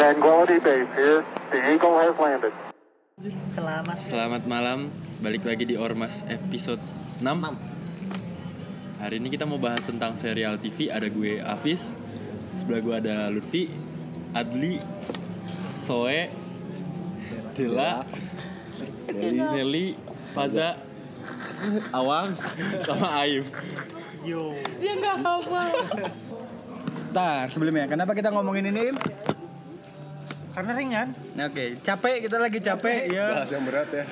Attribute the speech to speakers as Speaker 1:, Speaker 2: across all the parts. Speaker 1: Tranquility Base here. The Eagle has landed.
Speaker 2: Selamat.
Speaker 3: Selamat malam, balik lagi di Ormas episode 6 Hari ini kita mau bahas tentang serial TV Ada gue Afis Sebelah gue ada Lutfi Adli Soe Dela Nelly Paza Awang Sama Ayu
Speaker 4: Nah, sebelumnya kenapa kita ngomongin ini? Im?
Speaker 2: Karena ringan.
Speaker 4: Nah, Oke, capek kita lagi capek ya.
Speaker 5: bahas yang berat ya.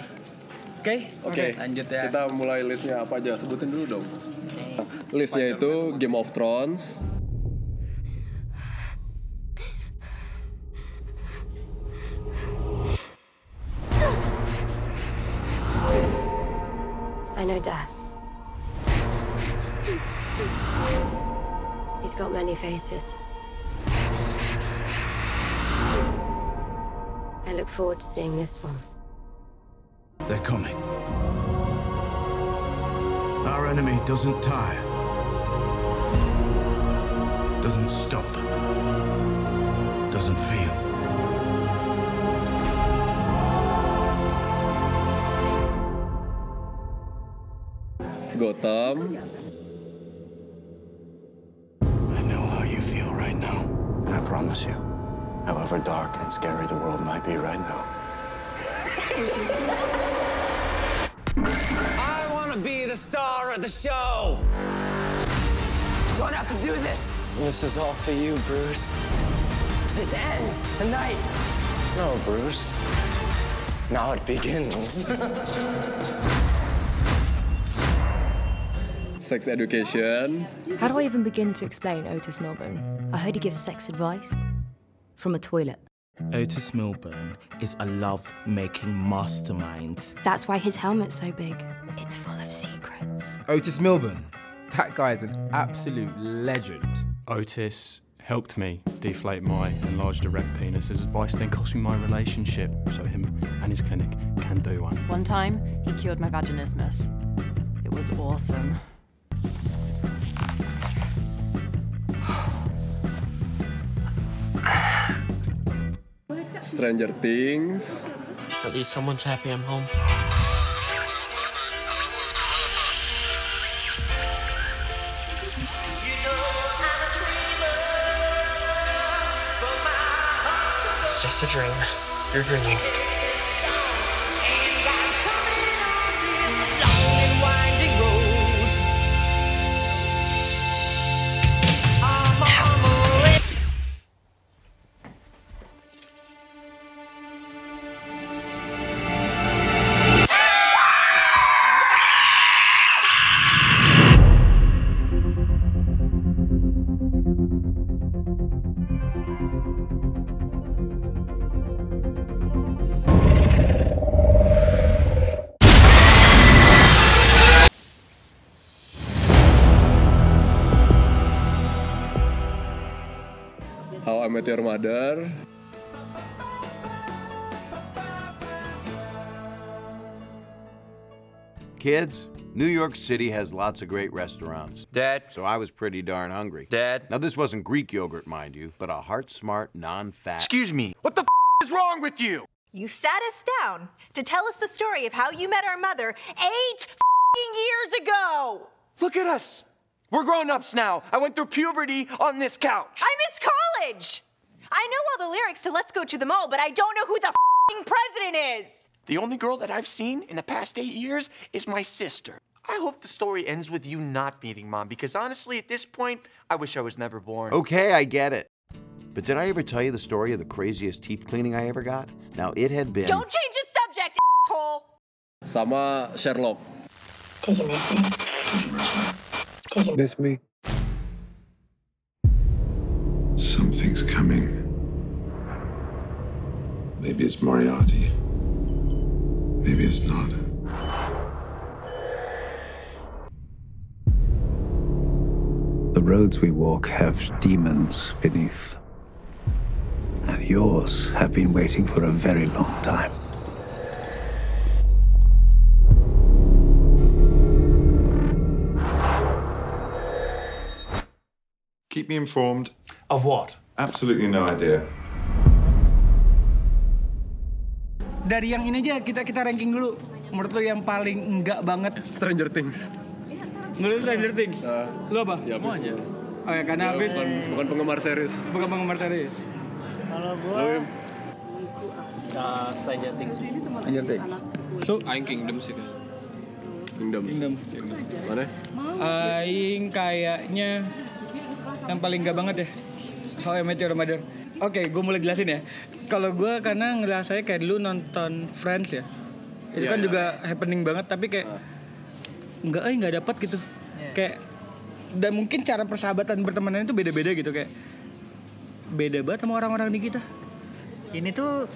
Speaker 4: Oke.
Speaker 5: Oke,
Speaker 4: Lanjut ya.
Speaker 5: Kita mulai listnya apa aja? Sebutin dulu dong. Listnya itu Game of Thrones,
Speaker 6: I know death. He's got many faces. I look forward to seeing this one.
Speaker 7: They're coming. Our enemy doesn't tire, doesn't stop, doesn't feel.
Speaker 5: Gotham,
Speaker 7: I know how you feel right now. And I promise you, however dark and scary the world might be right now,
Speaker 8: I want to be the star of the show. You don't have to do this. This is all for you, Bruce. This ends tonight. No, Bruce. Now it begins.
Speaker 5: Sex Education,
Speaker 9: How do I even begin to explain Otis Milburn? I heard he gives sex advice from a toilet.
Speaker 10: Otis Milburn is a love making mastermind.
Speaker 6: That's why his helmet's so big. It's full of secrets.
Speaker 11: Otis Milburn. That guy is an absolute legend.
Speaker 10: Otis helped me deflate my enlarged erect penis. His advice then cost me my relationship, so him and his clinic can do one.
Speaker 9: One time, he cured my vaginismus. It was awesome.
Speaker 5: Stranger Things,
Speaker 8: At least someone's happy I'm home. It's just a dream. You're dreaming.
Speaker 5: How I Met Your Mother,
Speaker 7: Kids, New York City has lots of great restaurants. Dad. So I was pretty darn hungry. Dad. Now, this wasn't Greek yogurt, mind you, but a heart smart, non fat. Excuse me. What the f is wrong with you?
Speaker 12: You sat us down to tell us the story of how you met our mother eight fing years ago.
Speaker 8: Look at us. We're grown ups now. I went through puberty on this couch.
Speaker 12: I miss college. I know all the lyrics to Let's Go to the Mall, but I don't know who the fing president is.
Speaker 8: The only girl that I've seen in the past eight years is my sister. I hope the story ends with you not meeting mom because honestly, at this point, I wish I was never born.
Speaker 7: Okay, I get it. But did I ever tell you the story of the craziest teeth cleaning I ever got? Now, it had been.
Speaker 12: Don't change the subject, asshole.
Speaker 5: sama Sherlock.
Speaker 6: Did you miss me? Did you
Speaker 5: That's me.
Speaker 7: Something's coming. Maybe it's Moriarty. Maybe it's not. The roads we walk have demons beneath. And yours have been waiting for a very long time.
Speaker 11: Keep me informed.
Speaker 10: Of what?
Speaker 11: Absolutely no idea.
Speaker 4: dari yang ini aja kita kita ranking dulu. Menurut lo yang paling enggak banget
Speaker 5: Stranger Things.
Speaker 4: Menurut lo Stranger Things. Lo apa?
Speaker 13: Semua aja.
Speaker 4: Oh ya, karena
Speaker 5: Ya,
Speaker 4: Hafiz
Speaker 5: bukan, bukan penggemar series.
Speaker 4: bukan penggemar tadi.
Speaker 8: Kalau gua Nah, Stranger Things.
Speaker 4: Stranger
Speaker 5: Iya,
Speaker 4: Things.
Speaker 5: So, Aing Kingdom sih kan. Kingdom. Kingdom. Mana?
Speaker 4: Aing kayaknya yang paling enggak banget deh. How I Met Your Mother. Oke, gue mulai jelasin ya. Kalau gue karena ngerasanya kayak dulu nonton Friends ya. Itu
Speaker 11: Iya, iya.
Speaker 4: kan
Speaker 11: Ah.
Speaker 4: juga happening banget tapi kayak nggak eh nggak dapat gitu.
Speaker 11: Iya.
Speaker 4: Kayak dan mungkin cara persahabatan bertemanannya itu beda-beda gitu kayak beda banget sama orang-orang di kita.
Speaker 8: Ini tuh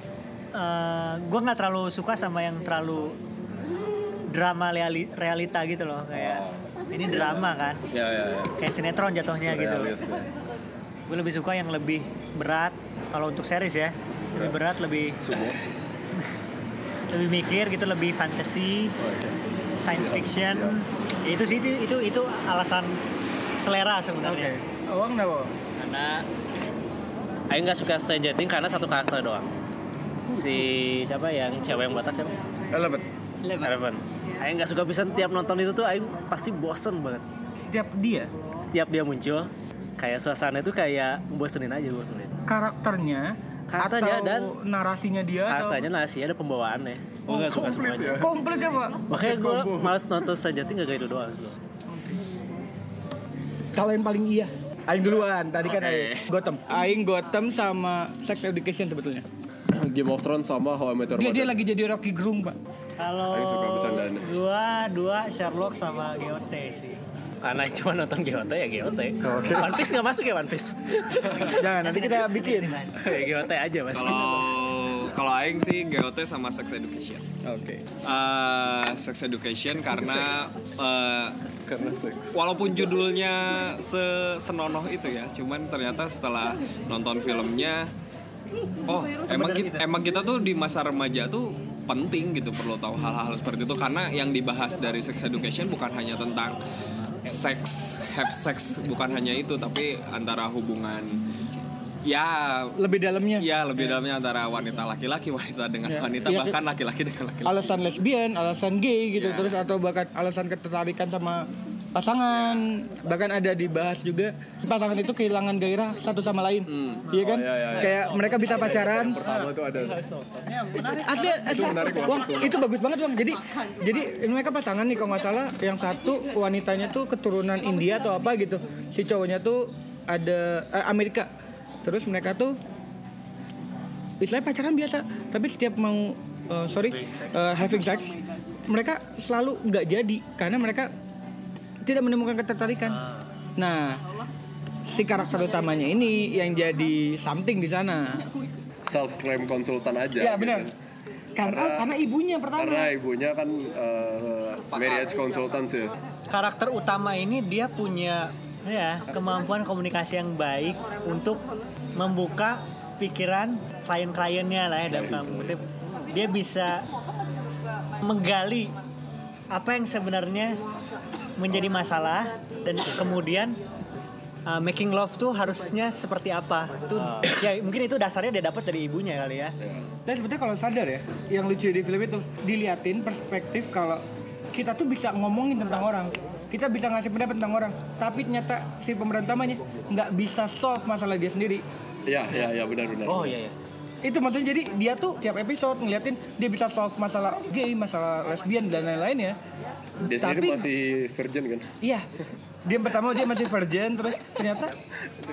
Speaker 8: eh gue nggak terlalu suka sama yang terlalu drama reali- realita gitu loh kayak ini drama kan
Speaker 5: Ya ya ya.
Speaker 8: kayak sinetron jatuhnya gitu
Speaker 5: Realis, ya.
Speaker 8: gue lebih suka yang lebih berat kalau untuk series ya lebih berat lebih lebih mikir gitu lebih fantasi science fiction Ya, itu sih itu, itu itu alasan selera sebenarnya
Speaker 4: Awang kenapa?
Speaker 1: Karena Aing nggak suka Stranger Things karena satu karakter doang. Si siapa yang cewek yang botak siapa?
Speaker 4: Eleven.
Speaker 1: Eleven. Aing nggak suka pisan tiap nonton itu tuh Aing pasti bosen banget.
Speaker 4: Setiap dia?
Speaker 1: Setiap dia muncul kayak suasana itu kayak bosenin aja gue ngeliat.
Speaker 4: Karakternya
Speaker 1: Karakternya
Speaker 4: atau
Speaker 1: dan-
Speaker 4: narasinya dia atau
Speaker 1: Katanya nasi ada pembawaannya. Gue nggak suka semuanya.
Speaker 4: Komplit ya, Pak.
Speaker 1: Makanya gue males nonton Stranger Things gara-gara itu doang sebenarnya.
Speaker 4: Kalau yang paling iya. Aing duluan, tadi kan
Speaker 5: Oke.
Speaker 4: Aing Gotham. Aing Gotham sama Sex Education sebetulnya.
Speaker 5: Game of Thrones sama How I Met
Speaker 4: Dia Iya, dia
Speaker 5: Your
Speaker 4: Oh.
Speaker 5: Mother.
Speaker 4: lagi jadi Rocky Gerung, Pak.
Speaker 8: kalau
Speaker 5: Aing suka bercandaan.
Speaker 8: dua dua Sherlock sama GOT sih
Speaker 1: Karena cuma nonton GOT ya GOT. One Piece nggak masuk ya One Piece.
Speaker 4: Jangan, nanti kita bikin.
Speaker 1: ya GOT aja mas.
Speaker 3: Kalau kalau aing sih GOT sama sex education.
Speaker 4: Oke.
Speaker 3: Eh, sex education karena
Speaker 5: Sex.
Speaker 3: eh,
Speaker 5: Karena seks.
Speaker 3: walaupun judulnya se- senonoh itu ya, cuman ternyata setelah nonton filmnya oh, emang kita, emang kita tuh di masa remaja tuh penting gitu perlu tahu hal-hal seperti itu karena yang dibahas dari sex education bukan hanya tentang seks have sex bukan hanya itu tapi antara hubungan ya
Speaker 4: lebih dalamnya
Speaker 3: ya lebih dalamnya antara wanita laki-laki wanita dengan
Speaker 4: Ya.
Speaker 3: wanita
Speaker 4: Ya,
Speaker 3: bahkan laki-laki dengan laki-laki
Speaker 4: Alasan lesbian, alasan gay gitu
Speaker 3: Iya.
Speaker 4: terus atau bahkan alasan ketertarikan sama pasangan. Bahkan ada dibahas juga pasangan itu kehilangan gairah satu sama lain. Iya kan?
Speaker 5: ya, ya.
Speaker 4: Kayak mereka bisa pacaran.
Speaker 5: Yang pertama tuh ada.
Speaker 4: asli asli
Speaker 5: Itu menarik, Wang.
Speaker 4: Wang, itu bagus banget bang jadi jadi mereka pasangan nih kalau nggak salah yang satu wanitanya tuh keturunan India atau apa gitu si cowoknya tuh ada eh, Amerika terus mereka tuh istilahnya pacaran biasa tapi setiap mau eh, sorry eh, having sex mereka selalu nggak jadi karena mereka tidak menemukan ketertarikan nah si karakter utamanya ini yang jadi something di sana
Speaker 5: Self claim konsultan aja.
Speaker 4: Iya,
Speaker 5: gitu.
Speaker 4: benar. karena
Speaker 5: Karena-
Speaker 4: karena ibunya pertama
Speaker 5: Karena ibunya kan eh, marriage consultant sih.
Speaker 8: karakter utama ini dia punya ya kemampuan komunikasi yang baik untuk membuka pikiran klien-kliennya lah ya dalam tanda kutip dia bisa menggali apa yang sebenarnya menjadi masalah dan kemudian uh, making love tuh harusnya seperti apa tuh ya mungkin itu dasarnya dia dapat dari ibunya kali ya
Speaker 4: Dan sebetulnya kalau sadar ya, yang lucu di film itu diliatin perspektif kalau kita tuh bisa ngomongin tentang orang, kita bisa ngasih pendapat tentang orang, tapi ternyata si pemberantamannya nggak bisa solve masalah dia sendiri.
Speaker 5: Iya, iya, iya benar-benar.
Speaker 4: Oh, iya, iya. Itu maksudnya jadi dia tuh tiap episode ngeliatin dia bisa solve masalah gay, masalah lesbian dan lain-lain ya.
Speaker 5: Dia sendiri
Speaker 4: Tapi-
Speaker 5: masih virgin kan?
Speaker 4: Iya. Dia pertama dia masih virgin terus ternyata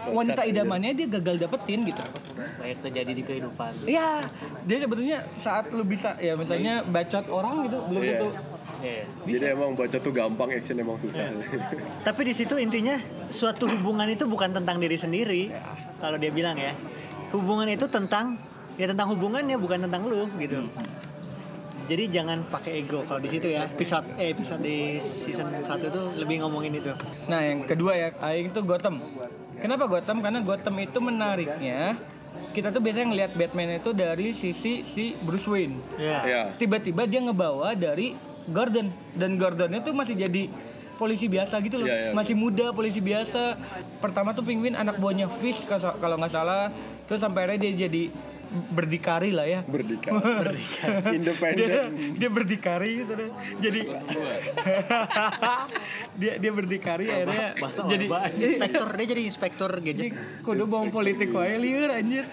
Speaker 4: wanita idamannya dia gagal dapetin gitu.
Speaker 1: Banyak terjadi di kehidupan.
Speaker 4: Iya, dia sebetulnya saat lu bisa ya misalnya bacot orang gitu belum
Speaker 5: Iya.
Speaker 4: tentu.
Speaker 5: Jadi emang baca tuh gampang, action emang susah.
Speaker 4: Iya.
Speaker 8: Tapi di situ intinya suatu hubungan itu bukan tentang diri sendiri. Kalau dia bilang ya, hubungan itu tentang ya tentang hubungannya bukan tentang lu gitu.
Speaker 5: Hmm.
Speaker 8: Jadi jangan pakai ego kalau di situ ya. Episode eh episode di season 1 itu lebih ngomongin itu.
Speaker 4: Nah, yang kedua ya, aing tuh Gotham. Kenapa Gotham? Karena Gotham itu menariknya kita tuh biasanya ngelihat Batman itu dari sisi si Bruce Wayne.
Speaker 5: Iya.
Speaker 1: Ya.
Speaker 5: Iya.
Speaker 4: Tiba-tiba dia ngebawa dari Gordon dan Gordonnya tuh masih jadi polisi biasa gitu loh,
Speaker 5: Iya, iya.
Speaker 4: masih muda polisi biasa. Pertama tuh Penguin anak buahnya Fish kalau nggak salah, terus sampai akhirnya dia jadi berdikari lah ya
Speaker 5: berdikari,
Speaker 4: dia, dia berdikari gitu deh. jadi dia dia berdikari akhirnya
Speaker 8: Bahasa
Speaker 4: jadi
Speaker 8: jadi inspektur dia jadi inspektur gadget.
Speaker 4: kudu bohong politik wae liur anjir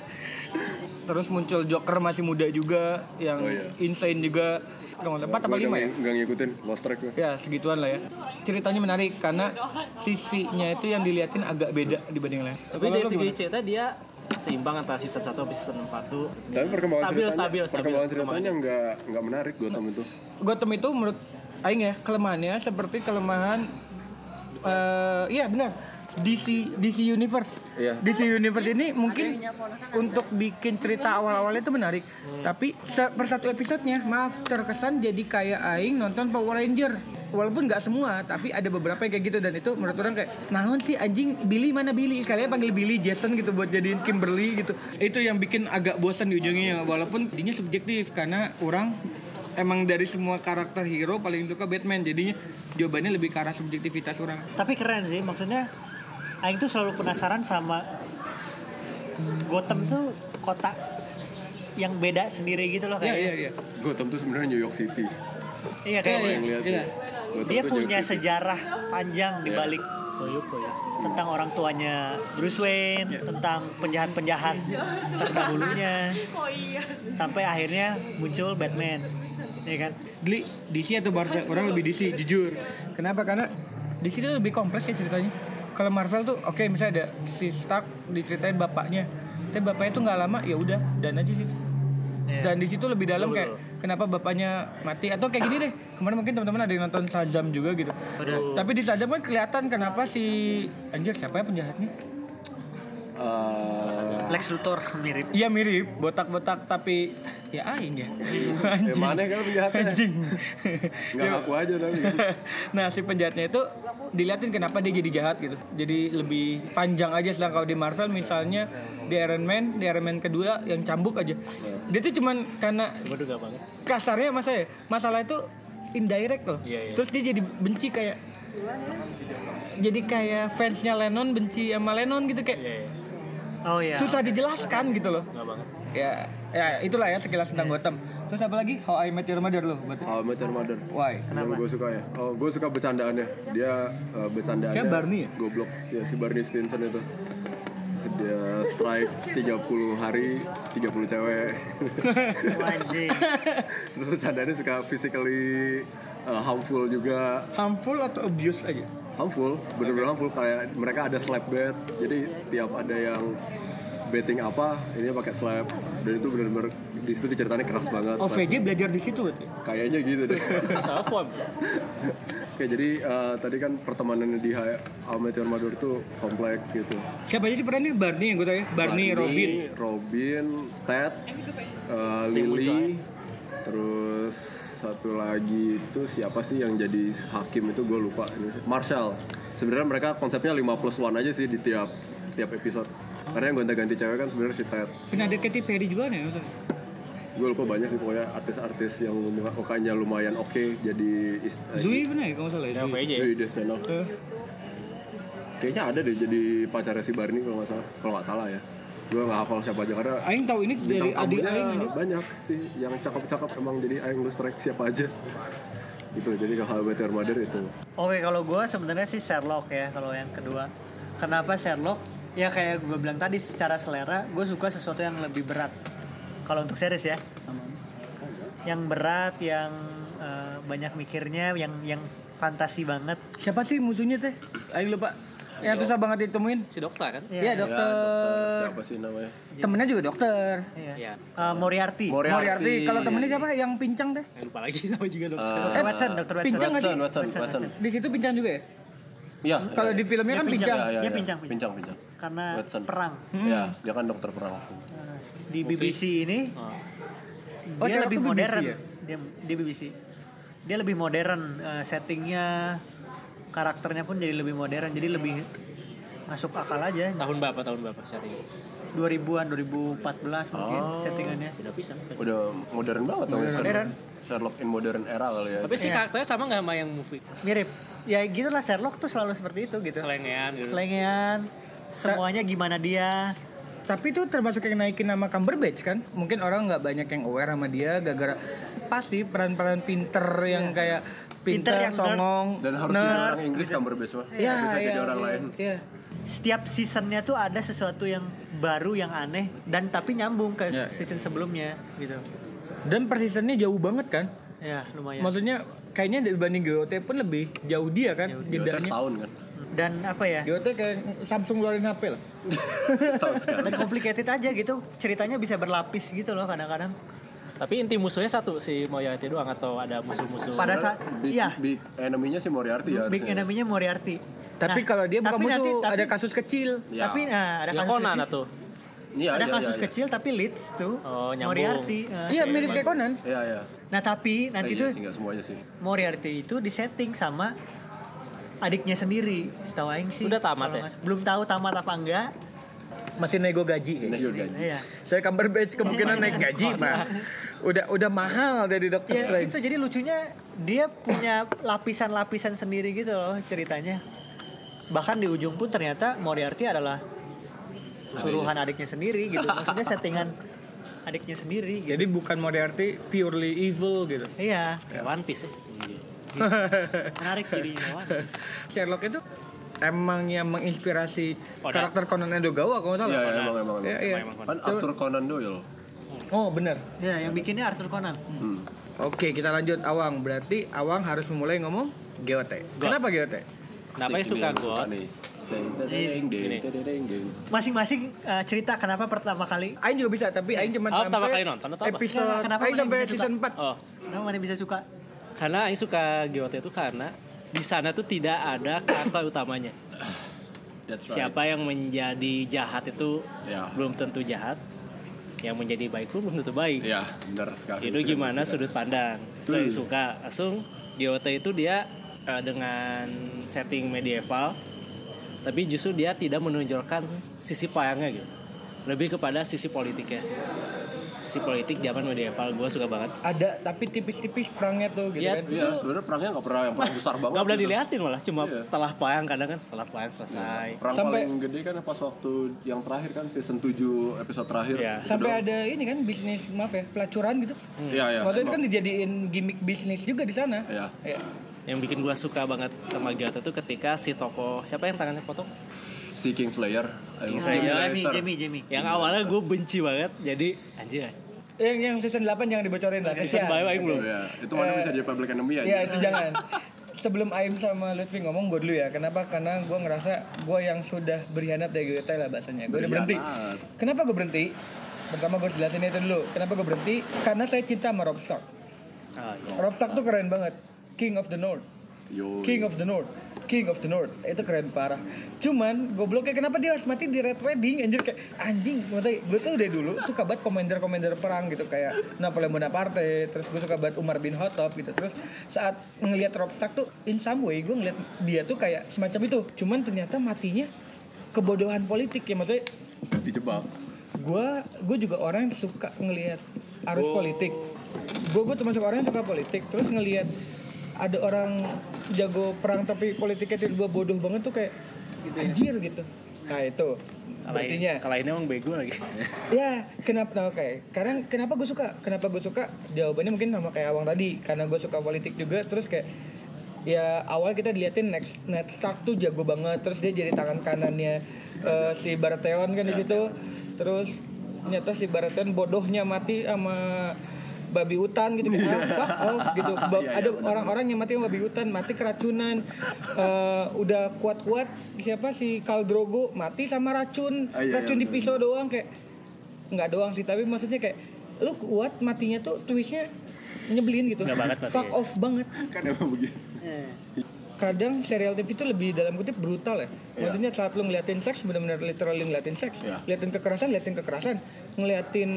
Speaker 4: terus muncul Joker masih muda juga yang
Speaker 5: Oh, iya.
Speaker 4: insane juga Kamu empat apa
Speaker 5: Gua
Speaker 4: lima
Speaker 5: udah
Speaker 4: ya?
Speaker 5: ng- Nggak ngikutin, lost track gue.
Speaker 4: Ya segituan lah ya. Ceritanya menarik karena sisinya itu yang diliatin agak beda dibanding yang lain.
Speaker 1: Tapi
Speaker 4: Kalau
Speaker 1: dari
Speaker 4: lu
Speaker 1: segi
Speaker 4: gimana?
Speaker 1: cerita dia ya, seimbang antara season 1 sampai season 4 tuh.
Speaker 5: Tapi perkembangan
Speaker 1: stabil,
Speaker 5: ceritanya,
Speaker 1: stabil, stabil,
Speaker 5: perkembangan ceritanya nggak nggak menarik Gotham itu.
Speaker 4: Gotham itu menurut Aing ya kelemahannya seperti kelemahan eh iya benar DC DC Universe
Speaker 5: Iya.
Speaker 4: DC Universe ini mungkin untuk bikin cerita awal-awalnya itu menarik tapi se- per satu episodenya maaf terkesan jadi kayak Aing nonton Power Ranger walaupun nggak semua tapi ada beberapa yang kayak gitu dan itu menurut orang kayak naon sih anjing Billy mana Billy sekalian panggil Billy Jason gitu buat jadiin Kimberly gitu itu yang bikin agak bosan di ujungnya walaupun intinya subjektif karena orang emang dari semua karakter hero paling suka Batman jadinya jawabannya lebih ke arah subjektivitas orang
Speaker 8: Tapi keren sih maksudnya Aing tuh selalu penasaran sama Gotham tuh kota yang beda sendiri gitu loh
Speaker 4: Iya,
Speaker 5: Iya,
Speaker 8: kayak.
Speaker 5: Gotham tuh sebenarnya New York City.
Speaker 8: Iya kayak
Speaker 5: Kalau yang lihat ya. Gotham
Speaker 8: dia
Speaker 5: tuh New
Speaker 8: punya
Speaker 5: York City.
Speaker 8: sejarah panjang di
Speaker 5: Iya.
Speaker 8: balik tentang orang tuanya Bruce Wayne,
Speaker 5: Iya.
Speaker 8: tentang penjahat-penjahat terdahulunya sampai akhirnya muncul Batman. Iya kan?
Speaker 4: Dli, DC atau Marvel? Orang lebih DC, jujur. Kenapa? Karena DC itu lebih kompleks ya ceritanya. Kalau Marvel tuh, oke misalnya ada si Stark diceritain bapaknya, tapi bapaknya tuh nggak lama, ya udah, dan aja situ.
Speaker 8: Iya.
Speaker 4: Dan di situ lebih dalam kayak kenapa bapaknya mati atau kayak gini deh. Kemarin mungkin teman-teman ada yang nonton Shazam juga gitu. Tapi di Shazam kan kelihatan kenapa si anjir siapa ya penjahatnya?
Speaker 5: Eh,
Speaker 8: Iya. Lex Luthor mirip.
Speaker 4: Iya mirip, botak-botak tapi ya aing ya.
Speaker 5: Eh, mana kan penjahatnya?
Speaker 4: Anjing. Iya.
Speaker 5: Nggak ngaku aja tapi.
Speaker 4: nah si penjahatnya itu diliatin kenapa dia jadi jahat gitu. Jadi lebih panjang aja sedang kalau di Marvel misalnya di Iron Man, di Iron Man kedua yang cambuk aja. Dia tuh cuman karena
Speaker 1: banget.
Speaker 4: kasarnya mas saya masalah itu indirect loh.
Speaker 1: Iya, iya.
Speaker 4: Terus dia jadi benci kayak jadi kayak fansnya Lennon benci sama Lennon gitu
Speaker 1: Iya,
Speaker 4: kayak
Speaker 8: Oh iya.
Speaker 4: susah dijelaskan gitu loh.
Speaker 1: banget.
Speaker 4: Ya, ya itulah ya sekilas tentang Gotham. Terus apa lagi? How I Met Your Mother loh. Berarti.
Speaker 5: How I Met Your Mother.
Speaker 4: Why?
Speaker 5: Kenapa? Gue suka ya. Oh, gue suka bercandaannya. Dia eh, bercandaannya.
Speaker 4: Kayak Barney ya?
Speaker 5: Goblok. Ya, si Barney Stinson itu. Dia strike 30 hari, 30 cewek.
Speaker 8: Anjing.
Speaker 5: Terus bercandaannya suka physically eh, harmful juga.
Speaker 4: Harmful atau abuse aja?
Speaker 5: Harmful, bener-bener harmful. Kayak mereka ada slap bet. Jadi tiap ada yang betting apa, ini pakai slap. Dan itu bener-bener di situ diceritanya keras banget.
Speaker 4: Oh, VJ belajar di situ berarti.
Speaker 5: Kayaknya gitu deh.
Speaker 1: Telepon.
Speaker 5: Oke, jadi eh, tadi kan pertemanannya di Hi- How I Met Your Mother itu kompleks gitu.
Speaker 4: Siapa aja sih perannya? Barney yang gue tanya. Barney, Robin.
Speaker 5: Robin, Ted, eh, Lily, terus satu lagi itu siapa sih yang jadi hakim itu gue lupa ini sih. Marshall. Sebenarnya mereka konsepnya 5 plus 1 aja sih di tiap tiap episode. Karena yang gonta-ganti cewek kan sebenarnya si Ted.
Speaker 4: Kan ada Katy Perry juga nih.
Speaker 5: Gue lupa banyak sih pokoknya artis-artis yang mukanya lumayan oke jadi is- eh,
Speaker 4: Zui Eh. bener ya kalau nggak salah ya? Zui.
Speaker 5: Joey Deseno. Kayaknya ada deh jadi pacarnya si Barney kalau nggak salah. Kalau nggak salah ya. Gue nggak hafal siapa aja karena
Speaker 4: Aing tahu ini
Speaker 5: bintang
Speaker 4: dari adik
Speaker 5: tamunya
Speaker 4: Aing ini.
Speaker 5: banyak sih yang cakep-cakep emang jadi Aing lu strike siapa aja. Itu jadi ke How I Met Your Mother itu.
Speaker 8: Oke, kalau gue sebenarnya sih Sherlock ya kalau yang kedua. Kenapa Sherlock? Ya kayak gue bilang tadi secara selera, gue suka sesuatu yang lebih berat. Kalau untuk series ya, yang berat, yang eh, banyak mikirnya, yang yang fantasi banget.
Speaker 4: Siapa sih musuhnya teh? Aing lupa. Yang susah banget ditemuin.
Speaker 1: Si dokter kan?
Speaker 4: Iya, dokter.
Speaker 5: Ya, Siapa sih namanya?
Speaker 4: Temennya juga dokter.
Speaker 1: Iya.
Speaker 8: Eh, Moriarty.
Speaker 4: Moriarty. Kalau temennya siapa? Yang pincang teh?
Speaker 1: Eh, Lupa lagi namanya juga dokter.
Speaker 5: Eh,
Speaker 8: Dr. Watson, Dr. Watson.
Speaker 4: Eh, Pincang nggak sih?
Speaker 8: Watson, Watson, Watson, Watson.
Speaker 4: Di situ pincang juga ya?
Speaker 5: Iya.
Speaker 4: Kalau di filmnya kan pincang.
Speaker 8: Dia pincang, pincang.
Speaker 5: ya. Pincang, pincang.
Speaker 8: Karena
Speaker 5: Watson.
Speaker 8: perang.
Speaker 5: Iya, dia kan dokter perang.
Speaker 8: Di BBC ini
Speaker 1: Ah.
Speaker 4: Oh,
Speaker 8: dia
Speaker 4: Sherlock
Speaker 8: lebih
Speaker 4: tuh BBC
Speaker 8: modern.
Speaker 4: ya?
Speaker 8: Dia dia BBC. Dia lebih modern eh, settingnya, karakternya pun jadi lebih modern, jadi lebih masuk akal aja.
Speaker 1: Tahun berapa? Tahun berapa saat ini?
Speaker 8: 2000-an, 2014 mungkin
Speaker 5: Oh.
Speaker 8: settingannya.
Speaker 1: Udah bisa.
Speaker 5: Udah modern banget namanya
Speaker 8: Modern.
Speaker 5: Sherlock. Sherlock in modern era kali ya.
Speaker 1: Tapi si karakternya sama nggak sama yang movie?
Speaker 8: Mirip. Ya gitulah Sherlock tuh selalu seperti itu gitu.
Speaker 1: Selengean gitu.
Speaker 8: Selengean, semuanya gimana dia.
Speaker 4: tapi itu termasuk yang naikin nama Cumberbatch kan mungkin orang nggak banyak yang aware sama dia gara-gara pasti peran-peran pinter yang kayak pinter,
Speaker 8: Iya. Pinter yang nerd.
Speaker 4: songong
Speaker 5: Dan harus
Speaker 4: nerd.
Speaker 5: jadi orang Inggris Cumberbatch
Speaker 4: Iya,
Speaker 5: mah.
Speaker 8: Ya,
Speaker 5: Nggak Bisa
Speaker 4: iya,
Speaker 5: jadi orang
Speaker 4: iya,
Speaker 5: lain. Ya,
Speaker 4: Iya.
Speaker 8: Setiap seasonnya tuh ada sesuatu yang baru yang aneh dan tapi nyambung ke
Speaker 1: Ya.
Speaker 4: Iya, iya.
Speaker 8: season sebelumnya gitu.
Speaker 4: dan persistennya jauh banget kan
Speaker 8: Ya lumayan.
Speaker 4: maksudnya kayaknya dibanding GOT pun lebih jauh dia kan jedanya
Speaker 5: setahun kan
Speaker 1: Hmm.
Speaker 8: dan apa ya?
Speaker 4: GOT kayak Samsung ngeluarin HP lah
Speaker 8: Dan complicated aja gitu ceritanya bisa berlapis gitu loh kadang-kadang.
Speaker 1: Tapi inti musuhnya satu si Moriarty doang atau ada musuh-musuh?
Speaker 8: Pada saat
Speaker 5: Big,
Speaker 8: iya
Speaker 5: big enemy-nya si Moriarty ya.
Speaker 8: big
Speaker 5: harusnya.
Speaker 8: enemy-nya Moriarty.
Speaker 4: Tapi kalau dia bukan
Speaker 8: Nah, tapi nanti-
Speaker 4: musuh,
Speaker 8: tapi-
Speaker 4: ada kasus kecil.
Speaker 5: Ya.
Speaker 8: Tapi nah, ada
Speaker 1: Si
Speaker 8: kasus
Speaker 1: Conan
Speaker 8: kecil.
Speaker 1: atau?
Speaker 5: Iya,
Speaker 8: ada
Speaker 5: iya,
Speaker 8: kasus
Speaker 5: iya, iya.
Speaker 8: kecil tapi leads tuh.
Speaker 1: Oh, nyambung.
Speaker 8: Moriarty. eh.
Speaker 4: Iya mirip kayak Conan.
Speaker 5: Iya, iya.
Speaker 8: Nah tapi
Speaker 5: Eh,
Speaker 8: nanti
Speaker 4: gitu.
Speaker 8: tuh
Speaker 5: iya sih, nggak semuanya sih.
Speaker 8: Moriarty itu disetting sama adiknya sendiri. Setahu aing sih.
Speaker 1: Udah tamat
Speaker 8: kalau
Speaker 1: ya?
Speaker 8: nggak- Belum tahu tamat apa enggak.
Speaker 4: Masih nego gaji kayaknya.
Speaker 5: Nego gaji.
Speaker 8: Iya.
Speaker 4: Saya Cumberbatch kemungkinan naik gaji, Pak. Udah udah mahal dari Dr.
Speaker 8: Ya,
Speaker 4: Strange.
Speaker 8: itu jadi lucunya dia punya lapisan-lapisan sendiri gitu loh ceritanya. Bahkan di ujung pun ternyata Moriarty adalah suruhan adiknya sendiri gitu. Maksudnya settingan adiknya sendiri gitu.
Speaker 4: Jadi bukan Moriarty purely evil gitu.
Speaker 8: Iya,
Speaker 1: Kayak One Piece ya.
Speaker 8: menarik jadinya.
Speaker 4: Sherlock itu emang yang menginspirasi
Speaker 1: Conan.
Speaker 4: karakter Conan Edogawa kalau nggak salah.
Speaker 5: Iya, iya, emang, emang,
Speaker 4: Iya,
Speaker 5: emang.
Speaker 4: iya.
Speaker 5: Kan Arthur Conan Doyle.
Speaker 4: Oh, bener.
Speaker 8: Ya, yang bikinnya Arthur Conan.
Speaker 5: Hmm.
Speaker 4: Oke, kita lanjut Awang. Berarti Awang harus memulai ngomong GOT. Kenapa GOT?
Speaker 1: Kenapa ya
Speaker 5: Asik,
Speaker 1: suka
Speaker 5: ini yang
Speaker 1: gue?
Speaker 5: nih. Deng, deng, deng,
Speaker 1: Gini.
Speaker 5: deng, deng, deng.
Speaker 8: Masing-masing eh, cerita kenapa pertama kali
Speaker 4: Aing juga bisa, tapi Aing cuma
Speaker 1: Oh,
Speaker 4: sampai
Speaker 1: pertama kali nonton atau apa?
Speaker 4: episode
Speaker 8: Iya, Kenapa
Speaker 4: Aing
Speaker 8: mana
Speaker 4: sampai
Speaker 8: bisa suka?
Speaker 4: season 4.
Speaker 1: Oh,
Speaker 8: kenapa mana bisa suka?
Speaker 1: karena yang suka GOT itu karena di sana tuh tidak ada karakter utamanya.
Speaker 5: That's right.
Speaker 1: Siapa yang menjadi jahat itu
Speaker 5: Ya.
Speaker 1: belum tentu jahat. Yang menjadi baik pun belum tentu baik.
Speaker 5: Ya, benar sekali.
Speaker 1: Itu
Speaker 5: Keren
Speaker 1: gimana
Speaker 5: sekali.
Speaker 1: sudut pandang? Itu yang
Speaker 5: Hmm.
Speaker 1: suka. Langsung GOT itu dia eh, dengan setting medieval tapi justru dia tidak menonjolkan sisi payangnya gitu. Lebih kepada sisi politiknya. Sisi politik zaman medieval gue suka banget.
Speaker 4: Ada tapi tipis-tipis perangnya tuh gitu
Speaker 1: Ya,
Speaker 4: kan.
Speaker 5: Iya, sebenarnya perangnya nggak pernah yang paling besar banget.
Speaker 1: Gak pernah
Speaker 5: gitu.
Speaker 1: diliatin malah, cuma
Speaker 5: Iya.
Speaker 1: setelah payang kadang kan setelah payang selesai.
Speaker 5: Perang
Speaker 4: Sampai-
Speaker 5: paling gede kan pas waktu yang terakhir kan season 7 episode terakhir.
Speaker 1: Iya.
Speaker 5: Itu
Speaker 4: Sampai
Speaker 5: doang.
Speaker 4: ada ini kan bisnis maaf ya, pelacuran gitu.
Speaker 5: Iya, iya.
Speaker 4: Maksudnya itu
Speaker 5: emang.
Speaker 4: kan dijadiin gimmick bisnis juga di sana.
Speaker 5: Iya.
Speaker 4: Iya.
Speaker 1: Yang bikin gua suka banget sama Gato tuh ketika si tokoh siapa yang tangannya potong?
Speaker 5: Si Kingslayer. Ayo,
Speaker 1: Kingslayer. Iya,
Speaker 5: Jamie
Speaker 8: Jamie,
Speaker 5: Lannister.
Speaker 8: Jamie, Jamie.
Speaker 1: Yang awalnya gue benci banget, jadi anjir.
Speaker 4: Iya. Yang yang season 8 jangan dibocorin lah.
Speaker 1: Season
Speaker 4: kasihan.
Speaker 1: bayu aing belum.
Speaker 5: Iya, itu mana bisa jadi public enemy ya?
Speaker 4: Eh,
Speaker 5: aja.
Speaker 4: Iya itu jangan. Sebelum Aim sama Lutfi ngomong gue dulu ya. Kenapa? Karena gue ngerasa gue yang sudah berkhianat dari GWT lah bahasanya.
Speaker 1: Iya,
Speaker 4: Gue udah berhenti.
Speaker 1: ah.
Speaker 5: Berkhianat.
Speaker 4: Kenapa gue berhenti? Pertama gue jelasin itu dulu. Kenapa gue berhenti? Karena saya cinta sama Rob Stark.
Speaker 1: Ah, iya.
Speaker 4: Rob Stark tuh keren banget. King of the North.
Speaker 5: Yo.
Speaker 4: King of the North. King of the North itu keren parah. Cuman gobloknya kenapa dia harus mati di Red Wedding? Anjir kayak anjing. Maksudnya gue tuh dari dulu suka banget komander-komander perang gitu kayak Napoleon Bonaparte. Terus gue suka banget Umar bin Khattab gitu. Terus saat ngelihat Rob Stark tuh in some way gue ngelihat dia tuh kayak semacam itu. Cuman ternyata matinya kebodohan politik ya maksudnya
Speaker 5: dijebak.
Speaker 4: gue gue juga orang yang suka ngelihat arus politik gue gue termasuk orang yang suka politik terus ngelihat ada orang jago perang tapi politiknya tiba bodoh banget tuh kayak anjir gitu nah itu
Speaker 1: Kalainnya,
Speaker 4: artinya
Speaker 1: kalainnya emang bego lagi.
Speaker 4: ya kenapa nah, oke karena kenapa gue suka kenapa gue suka jawabannya mungkin sama kayak awang tadi karena gue suka politik juga terus kayak ya awal kita diliatin next Ned Stark tuh jago banget terus dia jadi tangan kanannya eh, si Baratheon kan di
Speaker 5: Ya.
Speaker 4: situ terus nyata si Baratheon bodohnya mati sama babi hutan gitu kan ah, fuck off gitu Ba-
Speaker 5: Iya, iya,
Speaker 4: ada
Speaker 5: benar.
Speaker 4: orang-orang yang mati sama babi hutan mati keracunan Eh, udah kuat-kuat siapa si Khal Drogo mati sama racun
Speaker 5: Ah, iya, iya,
Speaker 4: racun di
Speaker 5: benar.
Speaker 4: pisau doang kayak nggak doang sih tapi maksudnya kayak lu kuat matinya tuh twistnya nyebelin gitu
Speaker 1: Nggak banget mati.
Speaker 4: fuck off banget
Speaker 5: Kan emang begitu.
Speaker 1: Eh,
Speaker 4: kadang serial TV itu lebih dalam kutip brutal ya maksudnya saat lu ngeliatin seks benar-benar literally ngeliatin seks
Speaker 5: Iya.
Speaker 4: ngeliatin kekerasan ngeliatin kekerasan ngeliatin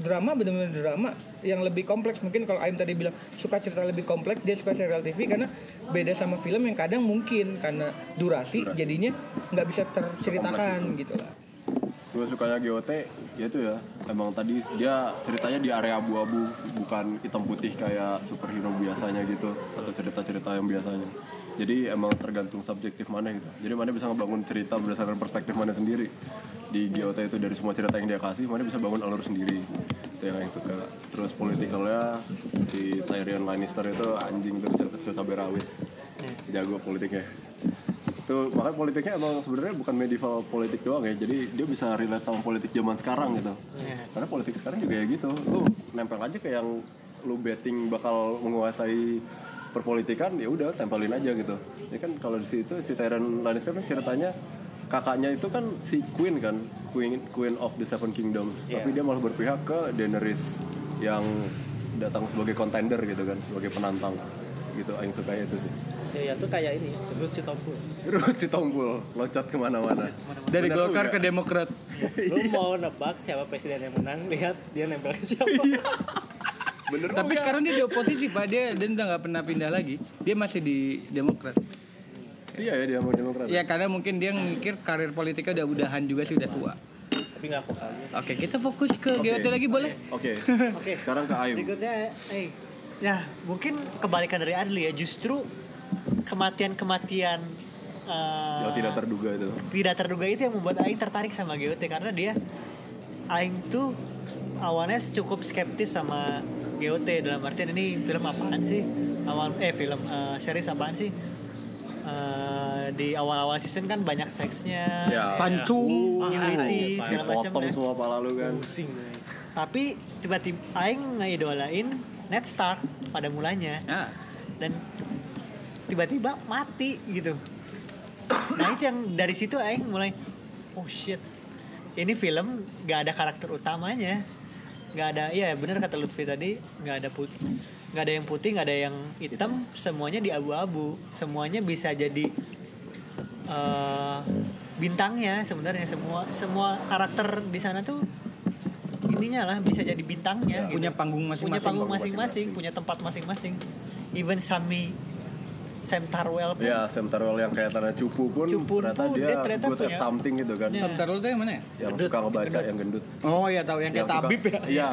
Speaker 4: drama benar-benar drama yang lebih kompleks mungkin kalau Aim tadi bilang suka cerita lebih kompleks dia suka serial TV karena beda sama film yang kadang mungkin karena durasi, jadinya nggak bisa terceritakan gitu lah
Speaker 5: gue sukanya GOT ya itu ya emang tadi dia ceritanya di area abu-abu bukan hitam putih kayak superhero biasanya gitu atau cerita-cerita yang biasanya Jadi emang tergantung subjektif mana gitu. Jadi mana bisa ngebangun cerita berdasarkan perspektif mana sendiri. Di GOT itu dari semua cerita yang dia kasih, mana bisa bangun alur sendiri. Itu yang yang suka. Terus politikalnya si Tyrion Lannister itu anjing tuh kecil cabai rawit. Jago politiknya. Itu makanya politiknya emang sebenarnya bukan medieval politik doang ya. Jadi dia bisa relate sama politik zaman sekarang gitu. Karena politik sekarang juga ya gitu. Lu nempel aja ke yang lu betting bakal menguasai perpolitikan ya udah tempelin aja gitu ya kan kalau di situ si Tyrion Lannister kan ceritanya kakaknya itu kan si Queen kan Queen Queen of the Seven Kingdoms
Speaker 7: Iya.
Speaker 5: tapi dia malah berpihak ke Daenerys yang datang sebagai contender gitu kan sebagai penantang gitu yang suka itu sih
Speaker 1: Ya, ya tuh kayak ini, Ruth Sitompul.
Speaker 5: Ruth Sitompul loncat kemana-mana
Speaker 1: Dari
Speaker 5: Bener
Speaker 1: Golkar
Speaker 5: juga.
Speaker 1: ke
Speaker 4: Demokrat
Speaker 1: Lu mau nebak siapa presiden yang menang, lihat dia nempel ke siapa.
Speaker 4: Tapi sekarang dia di oposisi Pak, dia dia udah nggak pernah pindah lagi. Dia masih di Demokrat.
Speaker 5: Iya ya dia mau Demokrat.
Speaker 4: Ya karena mungkin dia mikir karir politiknya udah udahan juga sih udah tua.
Speaker 1: Tapi nggak vokal.
Speaker 4: Oke, kita fokus ke
Speaker 5: Oke.
Speaker 4: GOT lagi boleh?
Speaker 5: oke
Speaker 8: Oke.
Speaker 5: sekarang ke Aim
Speaker 8: Berikutnya, eh, nah mungkin kebalikan dari Adli ya, justru kematian-kematian eh,
Speaker 5: yang Ya, tidak terduga itu
Speaker 8: tidak terduga itu yang membuat Aing tertarik sama GOT karena dia Aing tuh awalnya cukup skeptis sama GOT dalam artian ini film apaan sih awal eh film eh, series apaan sih Eh, di awal-awal season kan banyak seksnya
Speaker 5: Ya.
Speaker 8: pancung nudity
Speaker 5: Iya,
Speaker 8: segala macam ya.
Speaker 5: dipotong
Speaker 8: deh.
Speaker 5: semua pala lu kan
Speaker 8: tapi tiba-tiba Aing ngeidolain Ned Stark pada mulanya
Speaker 4: Ya,
Speaker 8: dan tiba-tiba mati gitu nah itu yang dari situ Aing mulai oh shit ini film gak ada karakter utamanya gak ada iya bener kata Lutfi tadi gak ada putih gak ada yang putih gak ada yang hitam semuanya di abu-abu semuanya bisa jadi eh, bintangnya sebenarnya semua semua karakter di sana tuh ininya lah bisa jadi bintangnya
Speaker 4: Iya,
Speaker 8: gitu.
Speaker 4: Punya panggung
Speaker 8: punya
Speaker 4: masing-masing.
Speaker 8: panggung masing-masing punya tempat masing-masing even Sami Sam Tarwell pun
Speaker 5: Ya, Sam Tarwell yang kayak tanah cupu pun ternyata
Speaker 8: pun,
Speaker 5: dia,
Speaker 8: dia ternyata
Speaker 5: good at
Speaker 8: punya-
Speaker 5: something gitu kan.
Speaker 4: Sam Tarul tuh yang mana ya?
Speaker 5: Yang suka ngebaca yang gendut.
Speaker 4: Oh iya tahu yang kayak
Speaker 5: Yang suka-
Speaker 4: tabib ya.
Speaker 5: Iya.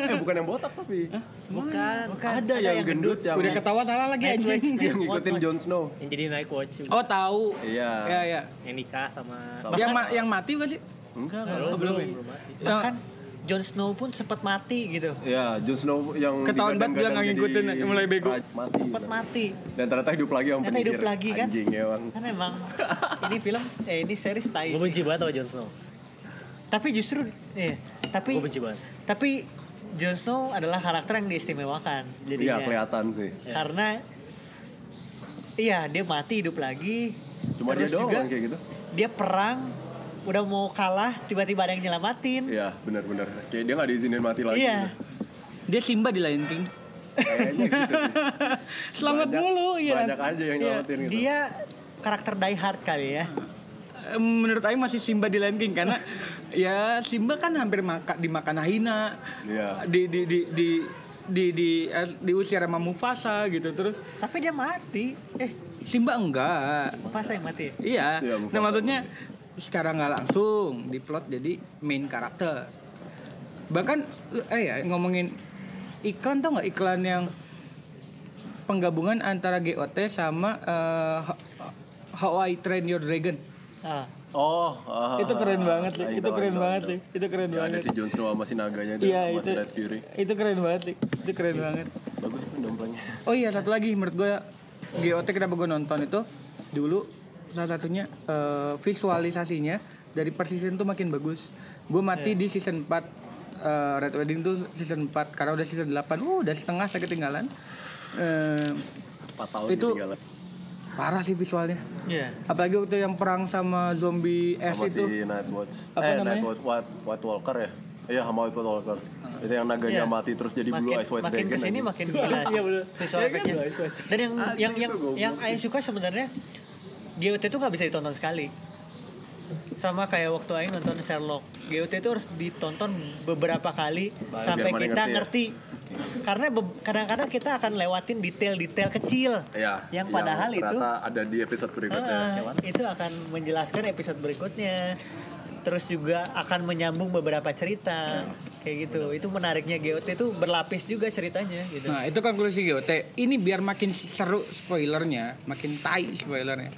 Speaker 5: eh bukan yang botak tapi.
Speaker 1: Bukan.
Speaker 5: Ada yang gendut yang
Speaker 4: udah ketawa salah lagi
Speaker 1: Night
Speaker 4: anjing.
Speaker 1: Watch, Night
Speaker 5: yang ngikutin
Speaker 1: Watch.
Speaker 5: Jon Snow.
Speaker 1: Yang jadi naik watch.
Speaker 4: Oh tahu.
Speaker 5: Iya.
Speaker 4: Iya iya.
Speaker 1: Yang nikah sama...
Speaker 4: Yang ma- yang mati bukan sih?
Speaker 5: Enggak,
Speaker 1: belum,
Speaker 4: belum.
Speaker 1: belum,
Speaker 4: ya?
Speaker 1: belum mati.
Speaker 8: bahkan Jon Snow pun sempat mati gitu
Speaker 5: Ya, Jon Snow yang
Speaker 8: Ketahuan banget dia
Speaker 5: digadang-gadang
Speaker 8: nggak ngikutin,
Speaker 5: jadi
Speaker 8: mulai bego.
Speaker 5: raj- Mati. gitu.
Speaker 8: sempat mati
Speaker 5: Dan ternyata hidup lagi yang
Speaker 8: ternyata hidup lagi
Speaker 5: Iya.
Speaker 8: kan
Speaker 5: Anjing ya, Bang.
Speaker 8: kan emang ini film eh ini series tai
Speaker 1: Gue benci banget sama Jon Snow.
Speaker 8: tapi justru eh tapi
Speaker 1: Gue benci banget.
Speaker 8: tapi Jon Snow adalah karakter yang diistimewakan
Speaker 5: Iya,
Speaker 8: jadinya
Speaker 5: kelihatan sih.
Speaker 8: karena iya dia mati hidup lagi
Speaker 5: Cuma dia
Speaker 8: terus
Speaker 5: doang
Speaker 8: juga
Speaker 5: yang kayak gitu.
Speaker 8: dia perang udah mau kalah tiba-tiba ada yang nyelamatin
Speaker 5: Iya, benar-benar. Kayak dia nggak diizinin mati lagi. gitu.
Speaker 8: iya
Speaker 4: dia Simba di Lion King
Speaker 5: Kayaknya gitu sih.
Speaker 4: Selamat
Speaker 5: Banyak-
Speaker 4: mulu ya.
Speaker 5: banyak aja yang
Speaker 1: Iya.
Speaker 5: nyelamatin gitu.
Speaker 8: iya. dia karakter die hard kali ya
Speaker 4: Em, Eh, menurut Aing masih Simba di Lion King karena ya Simba kan hampir maka, dimakan hina
Speaker 5: Iya.
Speaker 4: di di di di di di, eh, diusir sama Mufasa gitu terus
Speaker 8: tapi dia mati eh
Speaker 4: Simba enggak
Speaker 8: Mufasa yang mati ya?
Speaker 4: iya
Speaker 8: Iya,
Speaker 4: nah
Speaker 8: Mufasa.
Speaker 4: maksudnya secara nggak langsung diplot jadi main karakter bahkan eh ya ngomongin iklan tau nggak iklan yang penggabungan antara GOT sama eh, Ho- How I Train Your Dragon
Speaker 8: Ah.
Speaker 5: Oh, ah,
Speaker 4: Itu keren banget sih,
Speaker 5: ah,
Speaker 4: itu
Speaker 5: tahu,
Speaker 4: keren
Speaker 5: tahu,
Speaker 4: banget
Speaker 5: tahu.
Speaker 4: sih, itu keren
Speaker 5: Yang
Speaker 4: banget.
Speaker 5: Iya, Ada si Jon Snow sama si naganya itu,
Speaker 4: Iya,
Speaker 5: sama si
Speaker 4: itu.
Speaker 5: Red Fury. Iya.
Speaker 4: itu keren banget Dik. itu keren banget
Speaker 5: Bagus tuh domplengnya.
Speaker 4: oh iya satu lagi menurut gue GOT kenapa gue nonton itu dulu salah satunya eh, visualisasinya dari per season tuh makin bagus gue mati
Speaker 5: Iya.
Speaker 4: di season 4 eh, Red Wedding tuh season 4 karena udah season 8 uh udah setengah saya ketinggalan Eh,
Speaker 5: 4 tahun
Speaker 4: Itu-
Speaker 5: ketinggalan.
Speaker 4: parah sih visualnya
Speaker 8: Iya.
Speaker 4: apalagi waktu yang perang sama zombie es
Speaker 5: sama
Speaker 4: itu
Speaker 5: si Night Watch.
Speaker 4: Apa
Speaker 5: eh,
Speaker 4: namanya?
Speaker 5: Night Watch White, White Walker ya? Iya, sama White Walker. Itu yang naganya
Speaker 8: Iya.
Speaker 5: mati terus jadi
Speaker 8: makin,
Speaker 5: blue eyes white
Speaker 8: makin
Speaker 5: dragon. Iya,
Speaker 8: kesini
Speaker 5: anjing.
Speaker 8: makin gila sih visual
Speaker 5: kan?
Speaker 8: efeknya dan yang yang yang yang Aing suka sebenarnya GOT itu nggak bisa ditonton sekali sama kayak waktu Aing nonton Sherlock GOT itu harus ditonton beberapa kali
Speaker 5: Biar
Speaker 8: sampai
Speaker 5: mana
Speaker 8: kita
Speaker 5: ngerti ya.
Speaker 8: ngerti, karena be- kadang-kadang kita akan lewatin detail-detail kecil
Speaker 5: Iya,
Speaker 8: yang padahal itu
Speaker 5: ternyata ada di episode berikutnya.
Speaker 8: Ah, itu akan menjelaskan episode berikutnya terus juga akan menyambung beberapa cerita kayak gitu itu menariknya GOT itu berlapis juga ceritanya gitu
Speaker 4: Nah itu konklusi GOT. Ini biar makin seru spoilernya, makin tai spoilernya.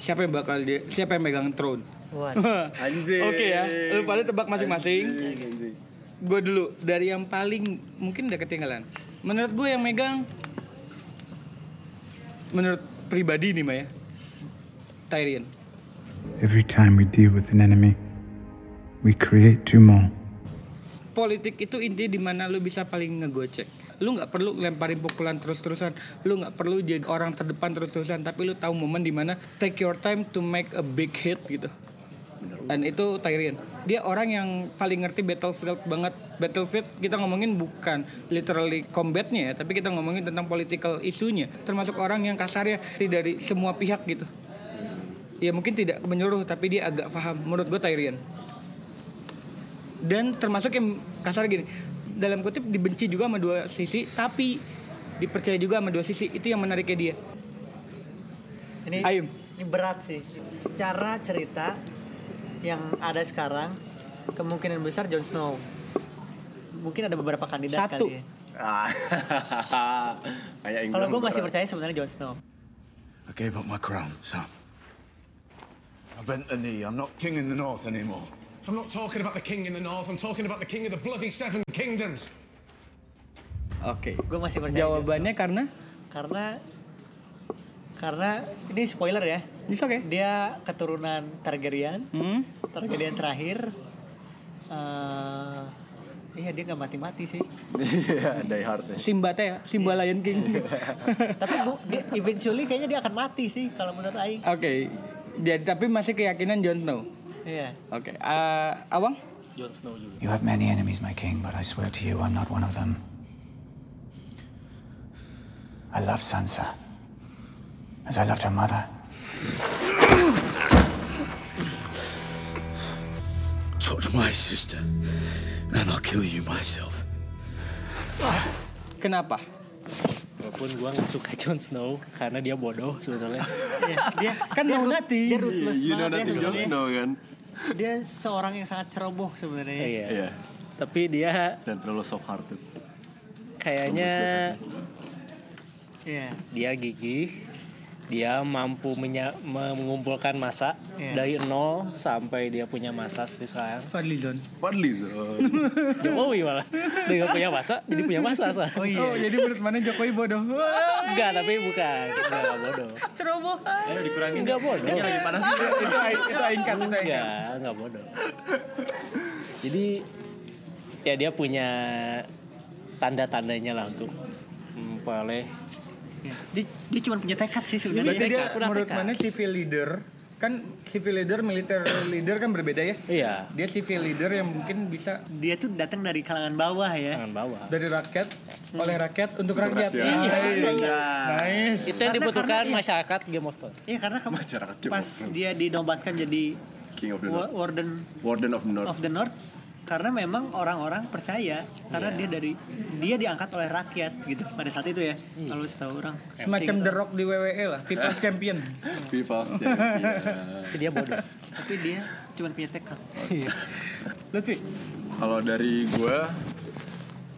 Speaker 4: Siapa yang bakal di- siapa yang megang throne?
Speaker 8: Waduh.
Speaker 4: Anjing. Oke ya, lu pada tebak masing-masing. Gue dulu dari yang paling mungkin udah ketinggalan. Menurut gue yang megang, menurut pribadi nih ya, Maya, Tyrion.
Speaker 7: Every time we deal with an enemy, we create two more.
Speaker 4: politik itu inti di mana lu bisa paling ngegocek lu nggak perlu lemparin pukulan terus-terusan lu nggak perlu jadi orang terdepan terus-terusan tapi lu tahu momen di mana take your time to make a big hit gitu dan itu Tyrion dia orang yang paling ngerti battlefield banget battlefield kita ngomongin bukan literally combatnya ya tapi kita ngomongin tentang political isunya termasuk orang yang kasarnya dari semua pihak gitu ya mungkin tidak menyeluruh tapi dia agak paham menurut gue Tyrion dan termasuk yang kasar gini dalam kutip dibenci juga sama dua sisi tapi dipercaya juga sama dua sisi itu yang menariknya dia
Speaker 8: ini
Speaker 4: Ayum.
Speaker 8: ini berat sih secara cerita yang ada sekarang kemungkinan besar Jon Snow mungkin ada beberapa kandidat
Speaker 4: Satu.
Speaker 8: kali ya.
Speaker 5: Ah. Kayak
Speaker 8: kalau gue masih percaya sebenarnya Jon Snow
Speaker 3: I gave up my crown, Sam. I bent the knee. I'm not king in the north anymore.
Speaker 14: I'm not talking about the king in the north. I'm talking about the king of the bloody seven kingdoms.
Speaker 4: oke
Speaker 8: gue masih percaya
Speaker 4: jawabannya karena
Speaker 8: karena karena ini spoiler ya dia keturunan Targaryen
Speaker 4: Hmm?
Speaker 8: Targaryen terakhir Eh, iya dia nggak mati-mati sih
Speaker 5: Iya, die hard nih.
Speaker 4: Simba teh ya, Simba Lion King
Speaker 8: tapi bu, dia, eventually kayaknya dia akan mati sih kalau menurut Aing
Speaker 4: oke jadi tapi masih keyakinan Jon Snow
Speaker 8: iya
Speaker 4: oke eh, Awang
Speaker 1: Jon Snow juga
Speaker 7: You have many enemies, my king, but I swear to you, I'm not one of them. I love Sansa. As I loved her mother.
Speaker 3: Touch my sister, and I'll kill you myself.
Speaker 4: kenapa
Speaker 1: Walaupun gue nggak suka Jon Snow karena dia bodoh sebetulnya.
Speaker 8: Iya, dia
Speaker 4: kan dia, root-
Speaker 8: dia ruthless banget dia ya, sebenarnya.
Speaker 5: kan?
Speaker 8: dia seorang yang sangat ceroboh sebenarnya
Speaker 1: Iya. Tapi dia
Speaker 5: dan terlalu soft hearted.
Speaker 1: Kayaknya
Speaker 8: Iya.
Speaker 1: dia gigih, dia mampu menya- mengumpulkan massa
Speaker 8: Iya.
Speaker 1: dari nol sampai dia punya massa seperti sekarang.
Speaker 4: Fadlizon.
Speaker 5: Fadlizon.
Speaker 1: Jokowi malah. Dia nggak punya massa, jadi punya massa. Sa.
Speaker 4: oh, jadi menurut mana Jokowi bodoh
Speaker 1: Enggak, tapi bukan. Enggak enggak bodoh.
Speaker 4: ceroboh
Speaker 1: Ayo dikurangin. Enggak bodoh.
Speaker 4: Ini lagi panas. Itu aing- itu aing cut, itu aing cut.
Speaker 1: Enggak, enggak Ya, bodoh. Jadi ya dia punya tanda-tandanya lah untuk memperoleh
Speaker 8: dia, dia cuma punya tekad sih sebenarnya
Speaker 4: Berarti dia menurut mana civil leader kan civil leader militer leader kan berbeda ya?
Speaker 1: Iya.
Speaker 4: Dia civil leader yang mungkin bisa
Speaker 8: dia tuh datang dari kalangan bawah ya.
Speaker 1: Kalangan bawah.
Speaker 4: Dari rakyat
Speaker 5: Hmm.
Speaker 4: oleh rakyat untuk, rakyat.
Speaker 1: Iya,
Speaker 4: Nice.
Speaker 1: iya.
Speaker 4: Nice.
Speaker 1: Itu yang
Speaker 8: Karena-
Speaker 1: dibutuhkan
Speaker 8: karena-
Speaker 1: masyarakat Game of Thrones.
Speaker 8: Iya karena kamu
Speaker 5: Masyarakat
Speaker 8: pas dia dinobatkan jadi
Speaker 5: King of the
Speaker 8: wa-
Speaker 5: North.
Speaker 8: warden
Speaker 5: Warden of the North.
Speaker 8: of the North karena memang orang-orang percaya karena
Speaker 4: Iya.
Speaker 8: dia dari dia diangkat oleh rakyat gitu pada saat itu ya kalau setahu orang
Speaker 4: Hmm. Semacam The Rock di WWE lah,
Speaker 5: Eh.
Speaker 4: People's Champion.
Speaker 5: People's
Speaker 1: Champion. dia bodoh.
Speaker 8: tapi dia cuma punya tekad
Speaker 4: Lutfi
Speaker 5: Kalau dari gue,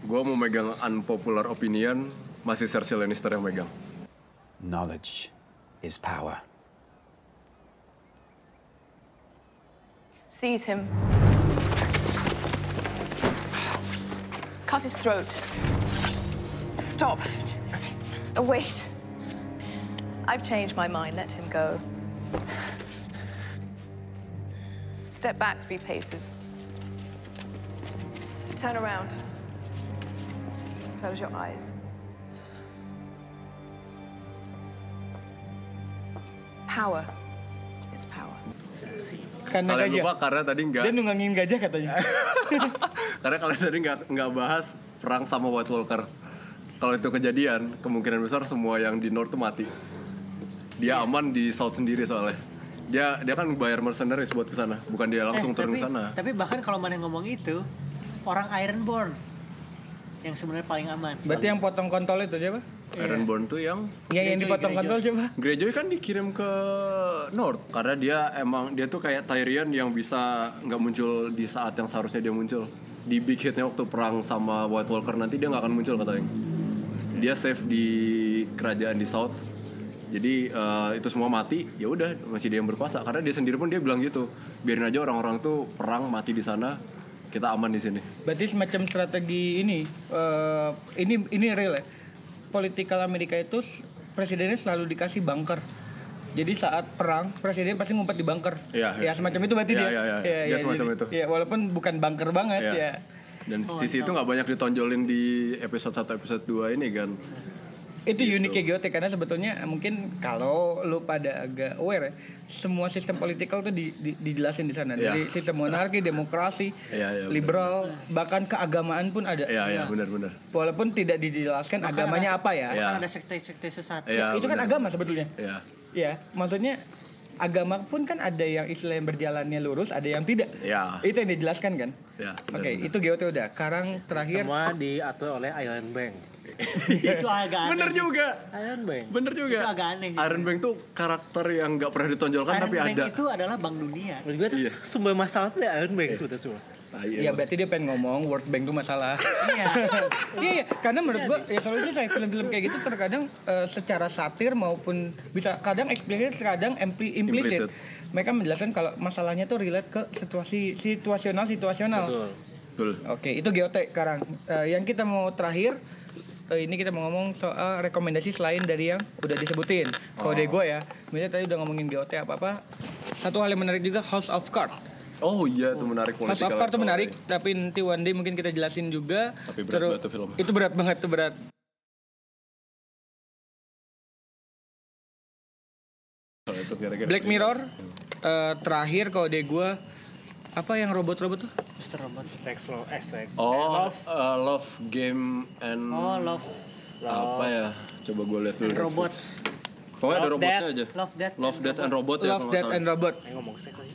Speaker 5: gue mau megang unpopular opinion masih Cersei Lannister yang megang.
Speaker 3: Knowledge is power.
Speaker 12: Seize him. Cut his throat. Stop. Oh, wait. I've changed my mind. Let him go. Step back three paces. Turn around. Close your eyes. Power is power.
Speaker 4: Karena
Speaker 5: Kalian
Speaker 4: gajah.
Speaker 5: lupa Eh. karena tadi nggak
Speaker 4: Dia nunggangin gajah katanya.
Speaker 5: karena kalian tadi nggak nggak bahas perang sama White Walker. Kalau itu kejadian, kemungkinan besar semua yang di North tuh mati. Dia
Speaker 8: Iya.
Speaker 5: aman di South sendiri soalnya. Dia dia kan bayar mercenaries buat ke sana, bukan dia langsung
Speaker 8: Eh,
Speaker 5: turun
Speaker 8: tapi,
Speaker 5: ke sana.
Speaker 8: tapi bahkan kalau mana yang ngomong itu orang Ironborn yang sebenarnya paling aman
Speaker 4: Berarti yang potong kontol itu siapa?
Speaker 8: ya.
Speaker 5: Iron Born tuh yang
Speaker 4: Iya, yang dipotong kontol siapa?
Speaker 5: Greyjoy kan dikirim ke North karena dia emang dia tuh kayak Tyrion yang bisa nggak muncul di saat yang seharusnya dia muncul di big hitnya waktu perang sama White Walker nanti dia nggak akan muncul katanya dia save di kerajaan di South jadi eh, itu semua mati ya udah masih dia yang berkuasa karena dia sendiri pun dia bilang gitu biarin aja orang-orang tuh perang mati di sana kita aman di sini
Speaker 4: Berarti semacam strategi ini eh, ini ini real ya. Political Amerika itu s- presidennya selalu dikasih bunker. Jadi saat perang presiden pasti ngumpet di bunker.
Speaker 5: Iya,
Speaker 4: Ya
Speaker 5: iya.
Speaker 4: semacam itu berarti
Speaker 5: Iya,
Speaker 4: dia.
Speaker 5: iya, iya.
Speaker 4: Iya,
Speaker 5: Dia
Speaker 4: iya,
Speaker 5: semacam
Speaker 4: jadi-
Speaker 5: itu.
Speaker 4: Iya, walaupun bukan bunker banget
Speaker 5: Iya.
Speaker 4: ya.
Speaker 5: dan
Speaker 4: Oh,
Speaker 5: sisi itu
Speaker 4: mantap.
Speaker 5: nggak banyak ditonjolin di episode 1 episode 2 ini kan
Speaker 4: Itu
Speaker 5: Gitu.
Speaker 4: uniknya Geotek karena sebetulnya mungkin kalau lu pada agak aware ya, semua sistem political tuh di, di- dijelasin di sana.
Speaker 5: Iya.
Speaker 4: Dari sistem monarki, demokrasi,
Speaker 5: Iya, iya, benar.
Speaker 4: liberal, bahkan keagamaan pun ada.
Speaker 5: Iya, iya, benar-benar.
Speaker 4: Walaupun tidak dijelaskan
Speaker 8: Bahkan
Speaker 4: agamanya
Speaker 8: ada-
Speaker 4: apa ya.
Speaker 8: bahkan ada sekte-sekte sesat
Speaker 4: Ya, itu kan agama sebetulnya.
Speaker 5: Iya.
Speaker 4: Ya, maksudnya agama pun kan ada yang Islam berjalannya lurus, ada yang tidak.
Speaker 5: Ya.
Speaker 4: Itu yang dijelaskan kan?
Speaker 5: Ya.
Speaker 4: Oke, itu GOT udah. Sekarang terakhir
Speaker 1: Semua diatur oleh Island Bank.
Speaker 8: itu agak aneh.
Speaker 5: Bener juga.
Speaker 8: Iron Bank.
Speaker 5: Bener juga.
Speaker 8: Itu agak aneh. sih.
Speaker 5: Iron Bank tuh karakter yang nggak pernah ditonjolkan
Speaker 8: Iron
Speaker 5: Kan tapi
Speaker 8: Bank
Speaker 5: ada.
Speaker 8: itu adalah bank dunia.
Speaker 1: Menurut gue tuh
Speaker 5: Iya.
Speaker 1: sumber masalah tuh ya, Iron Bank sebetulnya semua.
Speaker 5: Ah,
Speaker 4: Iya, berarti dia pengen ngomong World Bank itu masalah. Iya. Iya, iya. karena menurut gua ya selalu saya film-film kayak gitu terkadang eh, secara satir maupun bisa kadang eksplisit, kadang impli- implisit.
Speaker 5: Implisit.
Speaker 4: Mereka menjelaskan kalau masalahnya tuh relate ke situasi situasional situasional.
Speaker 5: Betul.
Speaker 4: Oke, itu geotek sekarang. Eh, yang kita mau terakhir eh, ini kita mau ngomong soal rekomendasi selain dari yang udah disebutin. Kode
Speaker 5: Oh.
Speaker 4: gue ya. Misalnya tadi udah ngomongin geotek apa-apa. Satu hal yang menarik juga House of Cards.
Speaker 5: Oh iya itu menarik
Speaker 4: House of
Speaker 5: political
Speaker 4: Cards tuh
Speaker 5: story.
Speaker 4: menarik, tapi nanti one day mungkin kita jelasin juga.
Speaker 5: Tapi berat
Speaker 4: Terus-
Speaker 5: banget tuh film.
Speaker 4: Itu berat banget, itu berat.
Speaker 5: Kalau itu gara-gara
Speaker 4: Black Mirror eh, terakhir kode gue apa yang robot-robot tuh?
Speaker 1: Mr. Robot. Sex law, eh, sex.
Speaker 5: Oh, love. love game and
Speaker 8: Oh, love.
Speaker 5: apa ya? Coba gue lihat dulu.
Speaker 8: Robots.
Speaker 5: Pokoknya ada
Speaker 8: Love
Speaker 5: robotnya
Speaker 8: Death.
Speaker 5: aja.
Speaker 8: Love Death
Speaker 5: Love
Speaker 8: and
Speaker 5: Death and Robot.
Speaker 4: Love,
Speaker 5: ya, kalau nggak
Speaker 4: Death
Speaker 5: salah.
Speaker 4: and Robot.
Speaker 1: Ayo ngomong seks lagi.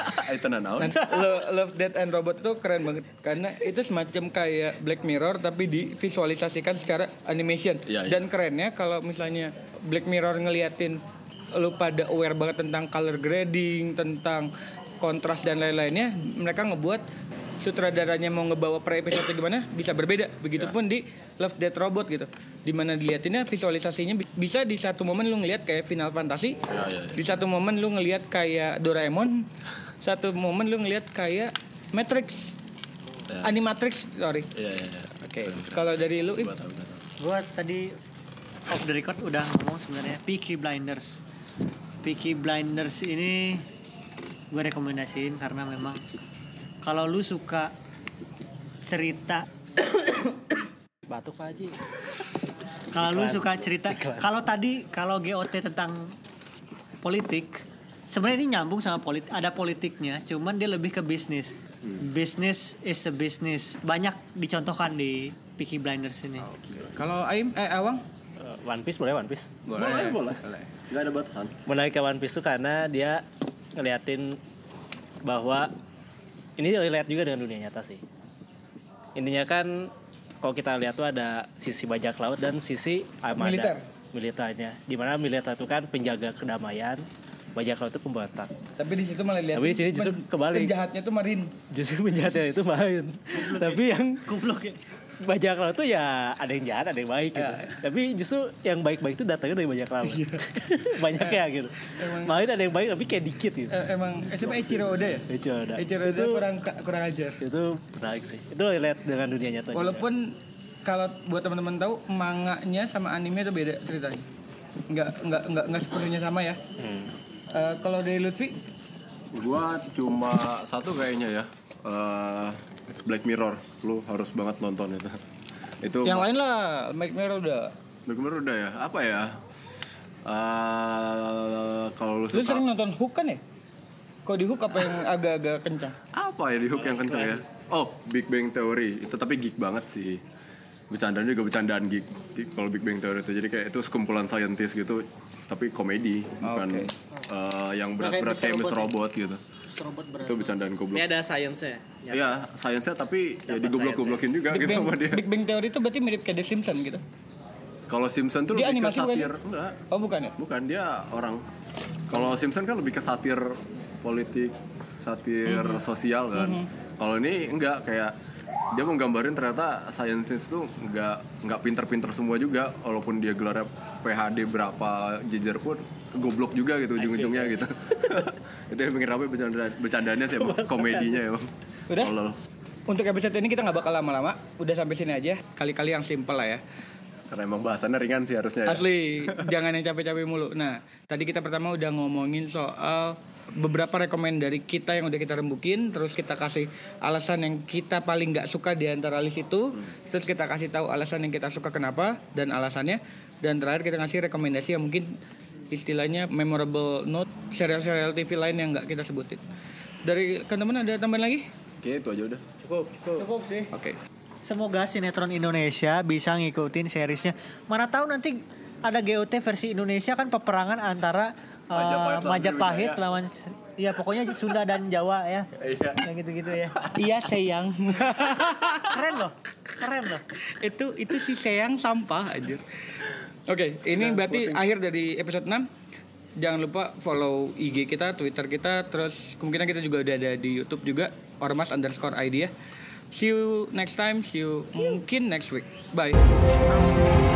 Speaker 5: Ah, Itu nah, naon.
Speaker 4: Nanti Lo- Love, Death and Robot itu keren banget karena itu semacam kayak Black Mirror tapi divisualisasikan secara animation.
Speaker 5: Iya, iya.
Speaker 4: Dan kerennya kalau misalnya Black Mirror ngeliatin lu pada aware banget tentang color grading, tentang kontras dan lain-lainnya, mereka ngebuat sutradaranya mau ngebawa per episode gimana bisa berbeda. Begitupun
Speaker 5: Iya.
Speaker 4: di Love Death Robot gitu. Dimana diliatinnya visualisasinya bi- bisa di satu momen lu ngelihat kayak Final Fantasy,
Speaker 5: Ya, ya, ya.
Speaker 4: di satu momen lu ngelihat kayak Doraemon satu momen lu ngelihat kayak Matrix
Speaker 5: Ya.
Speaker 4: Animatrix sorry
Speaker 5: Iya, iya, iya.
Speaker 4: Oke. kalau dari lu Im,
Speaker 8: Gue tadi off the record udah ngomong sebenarnya Peaky Blinders. Peaky Blinders ini gue rekomendasiin karena memang kalau lu suka cerita
Speaker 1: Batuk Pak Haji.
Speaker 8: kalau lu
Speaker 1: Iklan.
Speaker 8: suka cerita
Speaker 1: Iklan.
Speaker 8: kalau tadi kalau GOT tentang politik sebenarnya ini nyambung sama politik ada politiknya cuman dia lebih ke bisnis
Speaker 1: Hmm.
Speaker 8: Business is a business. Banyak dicontohkan di Peaky Blinders ini.
Speaker 4: kalau Aim eh Awang
Speaker 1: Eh, One Piece boleh One Piece?
Speaker 5: Boleh, boleh. Gak ada batasan.
Speaker 1: menarik One Piece tuh karena dia ngeliatin bahwa ini relate juga dengan dunia nyata sih. Intinya kan kalau kita lihat tuh ada sisi bajak laut dan sisi armada
Speaker 4: Militer.
Speaker 1: militernya. Dimana militer itu kan penjaga kedamaian, bajak laut itu pemberontak.
Speaker 4: tapi di situ malah lihat
Speaker 1: Tapi di sini justru kebalik.
Speaker 4: penjahatnya tuh Marin
Speaker 1: Justru penjahatnya itu main. Tapi yang
Speaker 8: Kublok ya.
Speaker 1: bajak laut tuh ya ada yang jahat, ada yang baik gitu. Tapi justru yang baik-baik itu datangnya dari bajak laut. Banyak ya gitu. Main ada yang baik tapi kayak dikit gitu.
Speaker 4: Eh, emang eh, siapa Ichiro Oda ya
Speaker 1: Iya. Itu ada.
Speaker 4: Ichiro Oda kurang kurang ajar
Speaker 1: itu menarik sih. Itu relate dengan dunia nyata. juga.
Speaker 4: walaupun kalau buat teman-teman tahu manganya sama anime tuh beda ceritanya nggak nggak nggak nggak sepenuhnya sama ya
Speaker 1: Hmm.
Speaker 4: Eh, kalau dari Lutfi
Speaker 5: Gua cuma satu kayaknya ya. Eh, Black Mirror. Lu harus banget nonton itu. Itu
Speaker 4: yang lain lah Mike Mirror udah
Speaker 5: Black Mirror udah ya. Apa ya? Eh kalau lu
Speaker 4: Lu sering
Speaker 5: suka
Speaker 4: nonton Hook kan ya? Kok di Hook apa yang agak-agak kencang?
Speaker 5: apa ya di hook yang kencang ya? Oh, Big Bang Theory. Itu tapi geek banget sih. Bercandaan juga bercandaan geek. Jadi Kalau Big Bang Theory itu jadi kayak itu sekumpulan scientist gitu, tapi komedi
Speaker 4: Oh,
Speaker 5: bukan eh, yang berat-berat kayak Mr. Robot gitu.
Speaker 8: Robot
Speaker 5: Itu bercandaan goblok.
Speaker 1: ini ada science-nya. nyata.
Speaker 5: Iya, sainsnya tapi
Speaker 1: Dapat
Speaker 5: ya digoblok-goblokin juga
Speaker 4: Big
Speaker 5: gitu
Speaker 4: Bang,
Speaker 5: sama dia.
Speaker 4: Big Bang Theory itu berarti mirip kayak The Simpsons gitu.
Speaker 5: Kalau Simpson tuh
Speaker 4: Dia
Speaker 5: lebih ke
Speaker 4: animasi bukan sih?
Speaker 5: satir. Enggak.
Speaker 4: Oh bukan ya?
Speaker 5: Bukan dia orang. Kalau Simpson kan lebih ke satir politik, satir
Speaker 4: Mhm.
Speaker 5: sosial kan.
Speaker 4: Mhm.
Speaker 5: Kalau ini enggak kayak dia menggambarin ternyata scientist tuh nggak nggak pinter-pinter semua juga walaupun dia gelarnya PhD berapa jejer pun goblok juga gitu ujung-ujungnya gitu itu yang bikin rame bercanda bercandanya sih emang
Speaker 4: Kebangsaan.
Speaker 5: komedinya emang
Speaker 4: Udah?
Speaker 5: Tolol.
Speaker 4: Untuk episode ini kita nggak bakal lama-lama. Udah sampai sini aja. Kali-kali yang simple lah ya.
Speaker 5: Karena emang bahasannya ringan sih harusnya. ya.
Speaker 4: Asli, jangan yang capek-capek mulu. Nah, tadi kita pertama udah ngomongin soal beberapa rekomend dari kita yang udah kita rembukin, terus kita kasih alasan yang kita paling nggak suka di antara list itu, terus kita kasih tahu alasan yang kita suka kenapa dan alasannya, dan terakhir kita ngasih rekomendasi yang mungkin istilahnya memorable note serial-serial TV lain yang nggak kita sebutin. Dari teman-teman ada tambahan lagi?
Speaker 5: Oke, itu aja udah.
Speaker 8: Cukup, cukup. Cukup sih.
Speaker 4: Oke.
Speaker 8: Semoga sinetron Indonesia bisa ngikutin seriesnya. Mana tahu nanti ada GOT versi Indonesia kan peperangan antara eh,
Speaker 4: Majapahit
Speaker 8: Majapahit,
Speaker 4: lawan Sriwijaya.
Speaker 8: lawan Iya pokoknya Sunda dan Jawa ya. Iya. Yang gitu-gitu ya.
Speaker 4: Iya sayang.
Speaker 8: Keren loh. Keren loh.
Speaker 4: itu itu si Seyang sampah aja. Oke, ini berarti akhir dari episode 6. Jangan lupa follow IG kita, Twitter kita, terus kemungkinan kita juga udah ada di YouTube juga, ormas underscore idea. See you next time, see you mungkin next week. Bye.